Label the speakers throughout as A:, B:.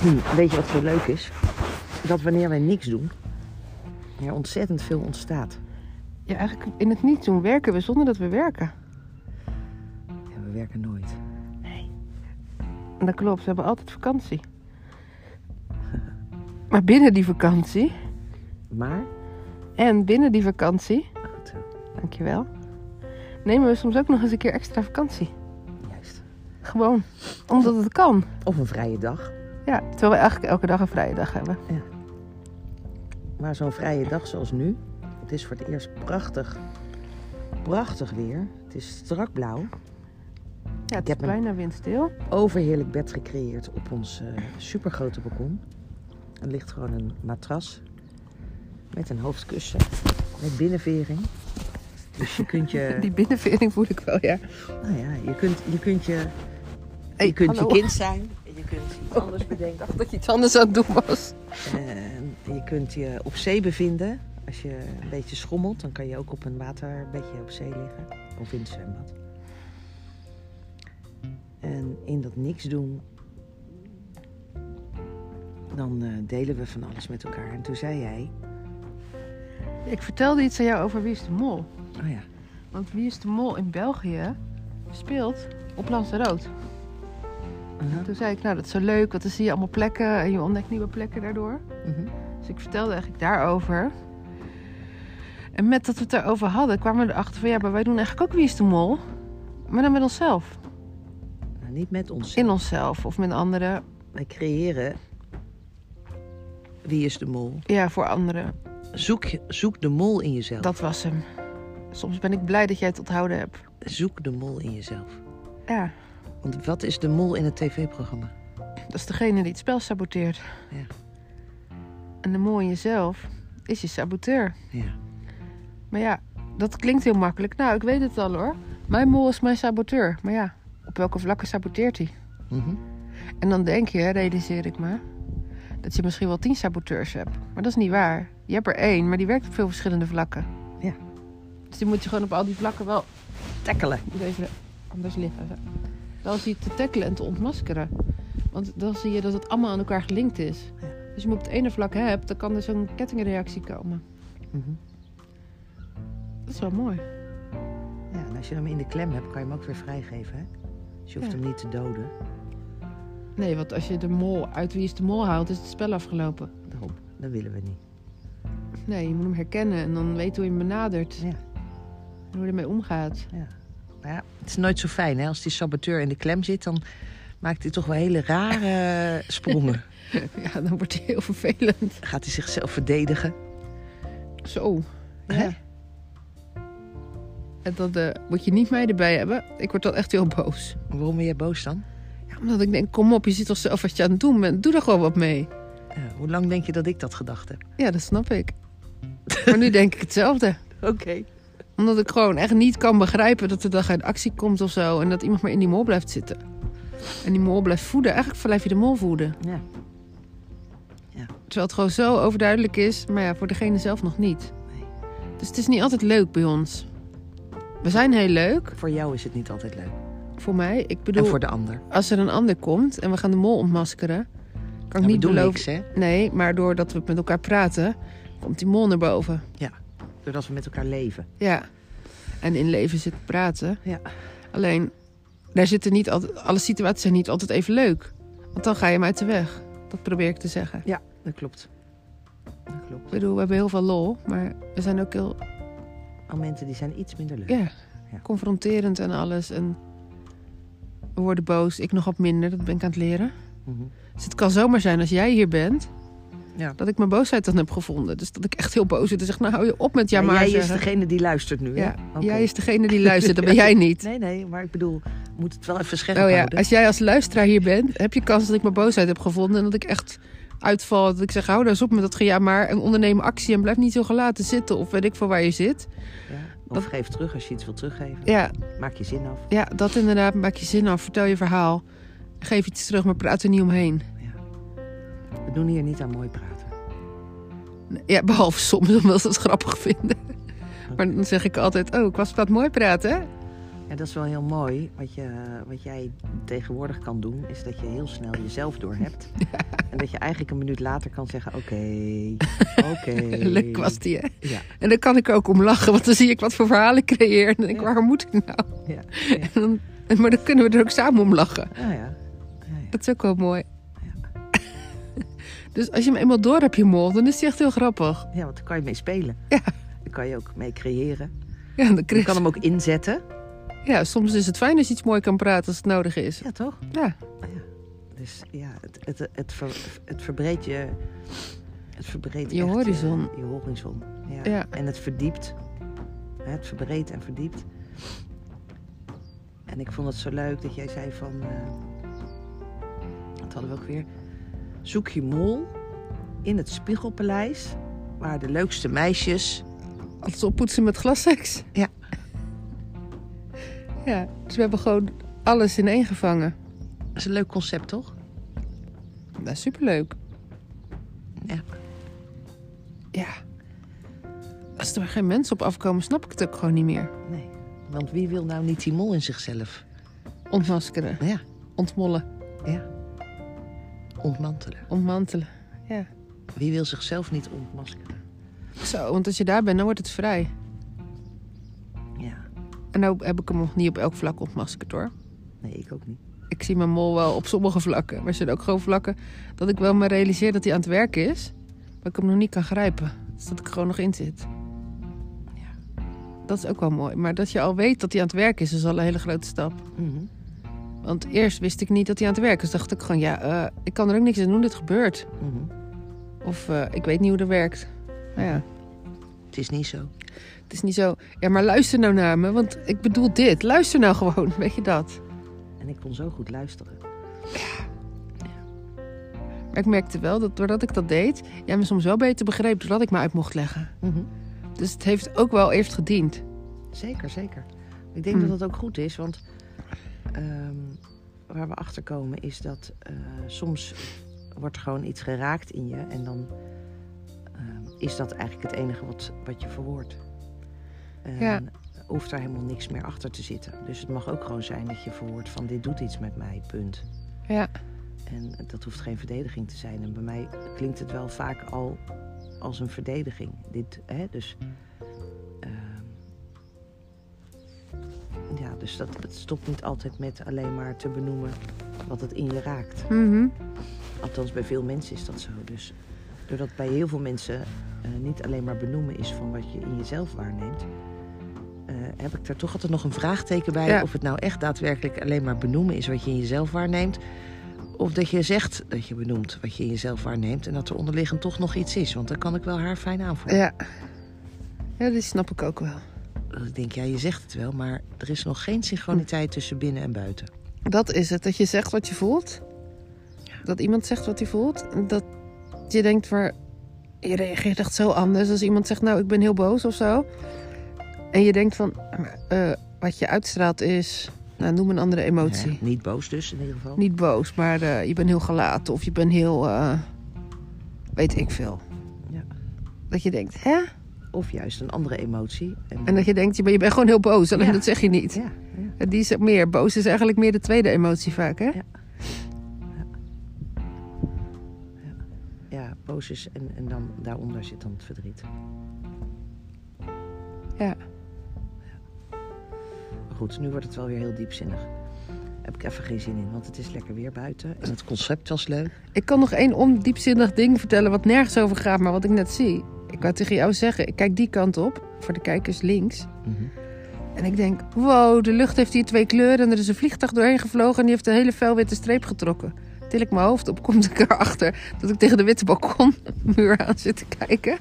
A: Hm, Weet je wat zo leuk is? Dat wanneer wij niks doen, er ontzettend veel ontstaat.
B: Ja, eigenlijk in het niet doen werken we zonder dat we werken.
A: En we werken nooit.
B: En dat klopt, we hebben altijd vakantie. Maar binnen die vakantie
A: Maar,
B: en binnen die vakantie,
A: goed zo,
B: dankjewel, nemen we soms ook nog eens een keer extra vakantie.
A: juist.
B: Gewoon, omdat het kan.
A: Of een vrije dag.
B: Ja, terwijl we eigenlijk elke dag een vrije dag hebben.
A: Maar zo'n vrije dag zoals nu. Het is voor het eerst prachtig. Prachtig weer. Het is strak blauw.
B: Ja,
A: Ik
B: het is
A: heb een-
B: bijna windstil.
A: Overheerlijk bed gecreëerd op ons eh, supergrote balkon. Er ligt gewoon een matras. Met een hoofdkussen. Met binnenvering. Dus je kunt je...
B: Die binnenvering voel ik wel, ja.
A: Nou ja, je kunt je, kunt je,
B: Hey,
A: je, kunt je
B: hallo.
A: kind zijn. Oh. en Je kunt iets anders bedenken.
B: Dat je iets anders aan het doen was.
A: Ehm, En je kunt je op zee bevinden. Als je een beetje schommelt, dan kan je ook op een waterbedje op zee liggen. Of in het zwembad. En in dat niks doen, dan eh, delen we van alles met elkaar. En toen zei jij,
B: Ik vertelde iets aan jou over Wie is de Mol.
A: oh ja,
B: Want Wie is de Mol in België speelt op Lanzarote.
A: aha,
B: Toen zei ik, nou dat is zo leuk, want dan zie je allemaal plekken en je ontdekt nieuwe plekken daardoor.
A: mhm,
B: Dus ik vertelde eigenlijk daarover. En met dat we het daarover hadden, kwamen we erachter van ja, maar wij doen eigenlijk ook Wie is de Mol. Maar dan met onszelf.
A: nou, niet met ons.
B: In onszelf of met anderen.
A: Wij creëren Wie is de Mol.
B: Ja, voor anderen.
A: Zoek, je- zoek de mol in jezelf.
B: Dat was hem. Soms ben ik blij dat jij het onthouden hebt.
A: Zoek de mol in jezelf.
B: Ja,
A: Want wat is de mol in het tv-programma?
B: dat is degene die het spel saboteert.
A: Ja.
B: En de mol in jezelf is je saboteur.
A: Ja.
B: Maar ja, dat klinkt heel makkelijk. Nou, ik weet het al hoor. Mijn mol is mijn saboteur. Maar ja, op welke vlakken saboteert hij?
A: Mhm.
B: En dan denk je, realiseer ik me, dat je misschien wel tien saboteurs hebt. Maar dat is niet waar. Je hebt er één, maar die werkt op veel verschillende vlakken.
A: Ja.
B: Dus die moet je gewoon op al die vlakken wel
A: Tackelen.
B: moet even anders liggen. zo. Dan zie je te tackelen en te ontmaskeren. Want dan zie je dat het allemaal aan elkaar gelinkt is.
A: Ja.
B: Dus je moet op het ene vlak hebt, dan kan er zo'n kettingreactie komen.
A: Mhm.
B: Dat is wel mooi.
A: Ja, en als je hem in de klem hebt, kan je hem ook weer vrijgeven. Hè? Dus je hoeft
B: Ja.
A: hem niet te doden.
B: Nee, want als je de mol uit wie is de mol haalt, is het spel afgelopen.
A: Nou, dat willen we niet.
B: Nee, je moet hem herkennen en dan weten hoe je hem benadert.
A: Ja.
B: En hoe je ermee omgaat.
A: Maar ja, het is nooit zo fijn. Hè? Als die saboteur in de klem zit, dan maakt hij toch wel hele rare sprongen.
B: Ja, dan wordt hij heel vervelend.
A: Gaat hij zichzelf verdedigen?
B: Zo.
A: Hè?
B: Ja. En dan eh, moet je niet mij erbij hebben. Ik word dan echt heel boos.
A: Waarom ben je boos dan?
B: Ja, omdat ik denk, kom op, je ziet toch zelf wat je aan het doen bent. Doe er gewoon wat mee.
A: Ja, hoe lang denk je dat ik dat gedacht heb?
B: Ja, dat snap ik. maar nu denk ik hetzelfde.
A: Oké.
B: Omdat ik gewoon echt niet kan begrijpen dat er dan geen actie komt of zo. En dat iemand maar in die mol blijft zitten. En die mol blijft voeden. Eigenlijk blijf je de mol voeden.
A: Ja.
B: Terwijl het gewoon zo overduidelijk is. Maar ja, voor degene zelf nog niet.
A: Nee.
B: Dus het is niet altijd leuk bij ons. We zijn heel leuk.
A: Voor jou is het niet altijd leuk.
B: Voor mij. Ik bedoel,
A: En voor de ander.
B: als er een ander komt en we gaan de mol ontmaskeren. Kan ik
A: Ja, we
B: niet
A: doen
B: beloven.
A: niks, hè?
B: Nee, maar doordat we met elkaar praten, komt die mol naar boven.
A: Doordat we met elkaar leven.
B: Ja. En in leven zit praten.
A: Ja.
B: Alleen, daar zitten niet altijd, alle situaties zijn niet altijd even leuk. Want dan ga je hem uit de weg. Dat probeer ik te zeggen.
A: Ja, dat klopt. Dat klopt.
B: Ik bedoel, we hebben heel veel lol, maar we zijn ook heel
A: Momenten die zijn iets minder leuk.
B: ja,
A: Ja.
B: confronterend en alles. En we worden boos, ik nog wat minder, dat ben ik aan het leren.
A: Mhm.
B: Dus het kan zomaar zijn als jij hier bent,
A: Ja.
B: dat ik mijn boosheid dan heb gevonden. Dus dat ik echt heel boos zit en zeg, nou hou je op met ja
A: Maar
B: maar
A: jij is
B: zeggen.
A: degene die luistert nu. hè?
B: Ja,
A: Oké.
B: jij is degene die luistert, dat ben jij niet.
A: Nee, nee, maar ik bedoel, moet het wel even scherp
B: Oh ja,
A: houden.
B: als jij als luisteraar hier bent, heb je kans dat ik mijn boosheid heb gevonden. En dat ik echt uitval. Dat ik zeg, hou daar eens op met dat gejaar maar. En onderneem actie en blijf niet zo gelaten zitten. Of weet ik veel waar je zit.
A: Ja.
B: dat-
A: Of geef terug als je iets wil teruggeven.
B: Ja,
A: Maak je zin af.
B: ja, dat inderdaad. Maak je zin af. Vertel je verhaal. Geef iets terug, maar praat er niet omheen.
A: We doen hier niet aan mooi praten.
B: Ja, behalve soms, omdat ze het grappig vinden. Maar dan zeg ik altijd, oh, ik was wat mooi praten. hè?
A: Ja, dat is wel heel mooi. Wat, je, wat jij tegenwoordig kan doen, is dat je heel snel jezelf doorhebt. En dat je eigenlijk een minuut later kan zeggen, oké, oké.
B: Leuk was die, hè?
A: Ja.
B: En dan kan ik ook om lachen, want dan zie ik wat voor verhalen ik creëer. En dan denk ik,
A: Ja.
B: waarom moet ik nou?
A: Ja,
B: En dan, maar dan kunnen we er ook samen om lachen.
A: ja, ja. ja, ja.
B: Dat is ook wel mooi. Dus als je hem eenmaal door hebt, je mol, dan is die echt heel grappig.
A: Ja, want daar kan je mee spelen.
B: Ja.
A: Daar kan je ook mee creëren.
B: Ja, dan
A: Je
B: krijg
A: kan hem ook inzetten.
B: ja, soms is het fijn als je iets mooi kan praten als het nodig is.
A: Ja, toch?
B: Ja,
A: Dus ja, het, het, het, ver- het verbreedt je... Het verbreedt
B: Je
A: echt eh,
B: horizon.
A: Je, horizon, ja.
B: Ja.
A: En het verdiept. Hè, Het verbreedt en verdiept. En ik vond het zo leuk dat jij zei van... eh, dat hadden we ook weer. Zoek je mol in het Spiegelpaleis... waar de leukste meisjes...
B: alles oppoetsen met glasseks.
A: Ja.
B: Ja, dus we hebben gewoon alles in één gevangen.
A: Dat is een leuk concept, toch?
B: Dat is superleuk.
A: Ja.
B: Ja. Als er geen mensen op afkomen, snap ik het ook gewoon niet meer.
A: Nee, want wie wil nou niet die mol in zichzelf?
B: Ontmaskeren,
A: Nou ja,
B: ontmollen,
A: ontmantelen.
B: ontmantelen. Ja.
A: Wie wil zichzelf niet ontmaskeren?
B: Zo, want als je daar bent, dan wordt het vrij.
A: Ja,
B: En nou heb ik hem nog niet op elk vlak ontmaskerd hoor.
A: nee, ik ook niet.
B: Ik zie mijn mol wel op sommige vlakken. Maar er zijn ook gewoon vlakken dat ik wel me realiseer dat hij aan het werk is. Maar ik hem nog niet kan grijpen. Dus dat ik er gewoon nog in zit. Dat is ook wel mooi. Maar dat je al weet dat hij aan het werk is, is al een hele grote stap.
A: Mhm.
B: Want eerst wist ik niet dat hij aan het werk is. dacht ik gewoon, ja, eh, ik kan er ook niks aan doen, dit gebeurt.
A: mhm.
B: Of eh, ik weet niet hoe dat werkt. Nou ja,
A: Het is niet zo.
B: het is niet zo. Ja, maar luister nou naar me, want ik bedoel dit. Luister nou gewoon, weet je dat?
A: En ik kon zo goed luisteren.
B: Maar ik merkte wel dat doordat ik dat deed, jij me soms wel beter begreep doordat ik me uit mocht leggen.
A: Mhm.
B: Dus het heeft ook wel eerst gediend.
A: Zeker, zeker. Ik denk
B: Mm.
A: dat dat ook goed is, want ehm, waar we achter komen is dat eh, soms wordt gewoon iets geraakt in je en dan ehm, is dat eigenlijk het enige wat, wat je verwoordt. En
B: Ja.
A: hoeft daar helemaal niks meer achter te zitten. Dus het mag ook gewoon zijn dat je verwoordt van dit doet iets met mij, punt.
B: Ja.
A: En dat hoeft geen verdediging te zijn. En bij mij klinkt het wel vaak al als een verdediging. Dit, hè, dus. ehm, ja, dus dat, het stopt niet altijd met alleen maar te benoemen wat het in je raakt.
B: Mhm.
A: Althans, bij veel mensen is dat zo. Dus doordat bij heel veel mensen eh, niet alleen maar benoemen is van wat je in jezelf waarneemt, eh, heb ik daar toch altijd nog een vraagteken bij
B: Ja.
A: of het nou echt daadwerkelijk alleen maar benoemen is wat je in jezelf waarneemt. Of dat je zegt dat je benoemt wat je in jezelf waarneemt en dat er onderliggend toch nog iets is. Want dan kan ik wel haar fijn aanvoelen.
B: Ja. Ja, dat snap ik ook wel.
A: Dat Ik denk, ja, je zegt het wel, maar er is nog geen synchroniteit tussen binnen en buiten.
B: Dat is het, dat je zegt wat je voelt. Dat iemand zegt wat hij voelt. En Dat je denkt, maar je reageert echt zo anders. Als iemand zegt, nou, ik ben heel boos of zo. En je denkt van, maar, eh, wat je uitstraalt is, nou, noem een andere emotie.
A: Ja, niet boos dus in ieder geval.
B: Niet boos, maar eh, je bent heel gelaten of je bent heel. eh, weet ik veel.
A: Ja.
B: Dat je denkt, hè?
A: Of juist een andere emotie.
B: En dat je denkt, je bent, je bent gewoon heel boos, alleen
A: Ja.
B: dat zeg je niet.
A: ja, ja.
B: En Die is het meer. Boos is eigenlijk meer de tweede emotie vaak, hè?
A: Ja. ja, boos is en, en dan daaronder zit dan het verdriet.
B: Ja.
A: Maar goed, nu wordt het wel weer heel diepzinnig. Heb ik even geen zin in, want het is lekker weer buiten. En het concept was leuk.
B: Ik kan nog één ondiepzinnig ding vertellen wat nergens over gaat, maar wat ik net zie. Ik wou tegen jou zeggen, ik kijk die kant op, voor de kijkers links. En ik denk, wow, de lucht heeft hier twee kleuren en er is een vliegtuig doorheen gevlogen en die heeft een hele fel witte streep getrokken. Til ik mijn hoofd op, kom ik erachter dat ik tegen de witte balkonmuur aan zit te kijken.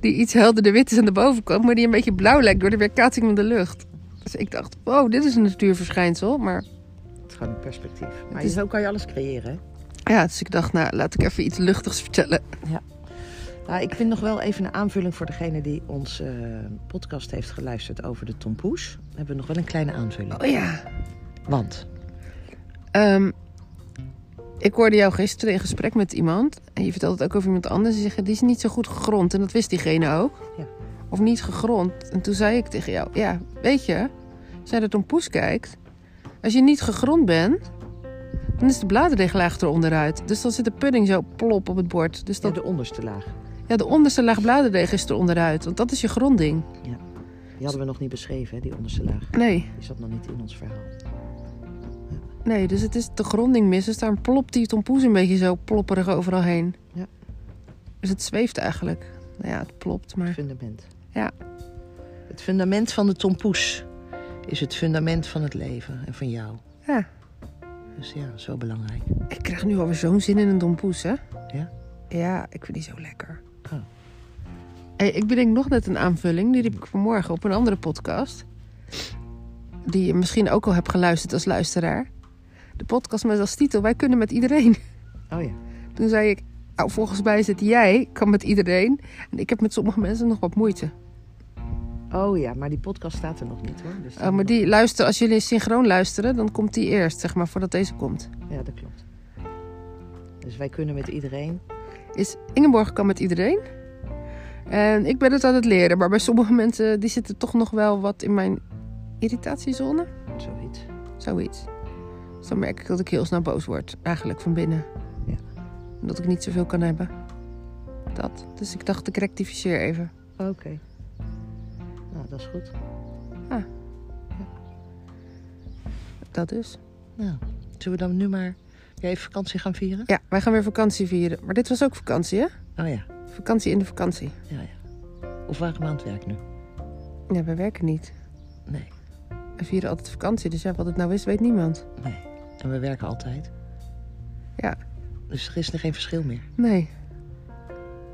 B: Die iets helderder wit is aan de bovenkant, maar die een beetje blauw lijkt door de weerkaatsing van de lucht. Dus ik dacht, wow, dit is een natuurverschijnsel. Maar
A: Het is gewoon een perspectief. Maar
B: Het is-
A: zo kan je alles creëren. hè?
B: ja, dus ik dacht, nou, laat ik even iets luchtigs vertellen.
A: Nou, ik vind nog wel even een aanvulling voor degene die onze eh, podcast heeft geluisterd over de tompoes. Dan hebben we nog wel een kleine aanvulling.
B: Oh ja,
A: Want,
B: Ehm, ik hoorde jou gisteren in gesprek met iemand. En je vertelde het ook over iemand anders. Die zeggen, die is niet zo goed gegrond. En dat wist diegene ook.
A: Ja.
B: Of niet gegrond. En toen zei ik tegen jou, ja, weet je... zij dat om poes kijkt. Als je niet gegrond bent, dan is de bladerdeeglaag eronder uit. Dus dan zit de pudding zo plop op het bord. Dus
A: Ja,
B: dat,
A: de onderste laag.
B: ja, de onderste laag bladerdeeg is eronder uit. Want dat is je grondding.
A: Die hadden we nog niet beschreven, hè, die onderste laag.
B: Nee,
A: Die zat nog niet in ons verhaal.
B: nee, dus het is de gronding mis. Dus daarom plopt die tompoes een beetje zo plopperig overal heen.
A: Ja.
B: Dus het zweeft eigenlijk. Nou ja, het plopt, maar...
A: Fundament.
B: Ja.
A: Het fundament van de tompoes is het fundament van het leven en van jou.
B: Ja.
A: Dus ja, zo belangrijk.
B: Ik krijg nu alweer zo'n zin in een dompoes, hè?
A: Ja?
B: Ja, ik vind die zo lekker.
A: Oh.
B: Hey, ik bedenk nog net een aanvulling. Die riep ik vanmorgen op een andere podcast. Die je misschien ook al hebt geluisterd als luisteraar. De podcast met als titel Wij kunnen met iedereen.
A: Oh ja.
B: Toen zei ik, nou, volgens mij zit jij, kan met iedereen. En ik heb met sommige mensen nog wat moeite.
A: Oh ja, maar die podcast staat er nog niet hoor. Dus
B: Oh, maar die luisteren, als jullie synchroon luisteren, dan komt die eerst, zeg maar, voordat deze komt.
A: Ja, dat klopt. Dus wij kunnen met iedereen.
B: is Ingeborg kan met iedereen. En ik ben het aan het leren, maar bij sommige mensen die zitten toch nog wel wat in mijn irritatiezone.
A: Zoiets.
B: Zoiets. Dus dan merk ik dat ik heel snel boos word, eigenlijk van binnen.
A: Ja.
B: En Dat ik niet zoveel kan hebben. Dat. Dus ik dacht, ik rectificeer even.
A: Oké. Nou, dat is goed.
B: Dat dus.
A: Nou, zullen we dan nu maar jij even vakantie gaan vieren?
B: Ja, wij gaan weer vakantie vieren. Maar dit was ook vakantie, hè?
A: Oh ja,
B: Vakantie in de vakantie.
A: ja, ja. Of waren we aan het werk nu?
B: Ja, wij werken niet.
A: Nee,
B: We vieren altijd vakantie, dus ja, wat het nou is, weet niemand.
A: nee. En we werken altijd.
B: Ja.
A: Dus er is er geen verschil meer.
B: Nee.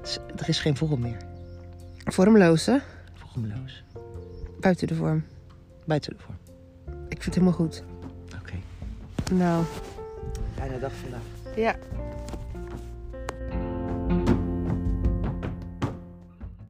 A: Het is- Er is geen vorm meer.
B: Vormloos, hè?
A: Vormloos.
B: Buiten de vorm.
A: Buiten de vorm.
B: Ik vind het helemaal goed.
A: Oké.
B: Nou.
A: Fijne dag vandaag.
B: Ja.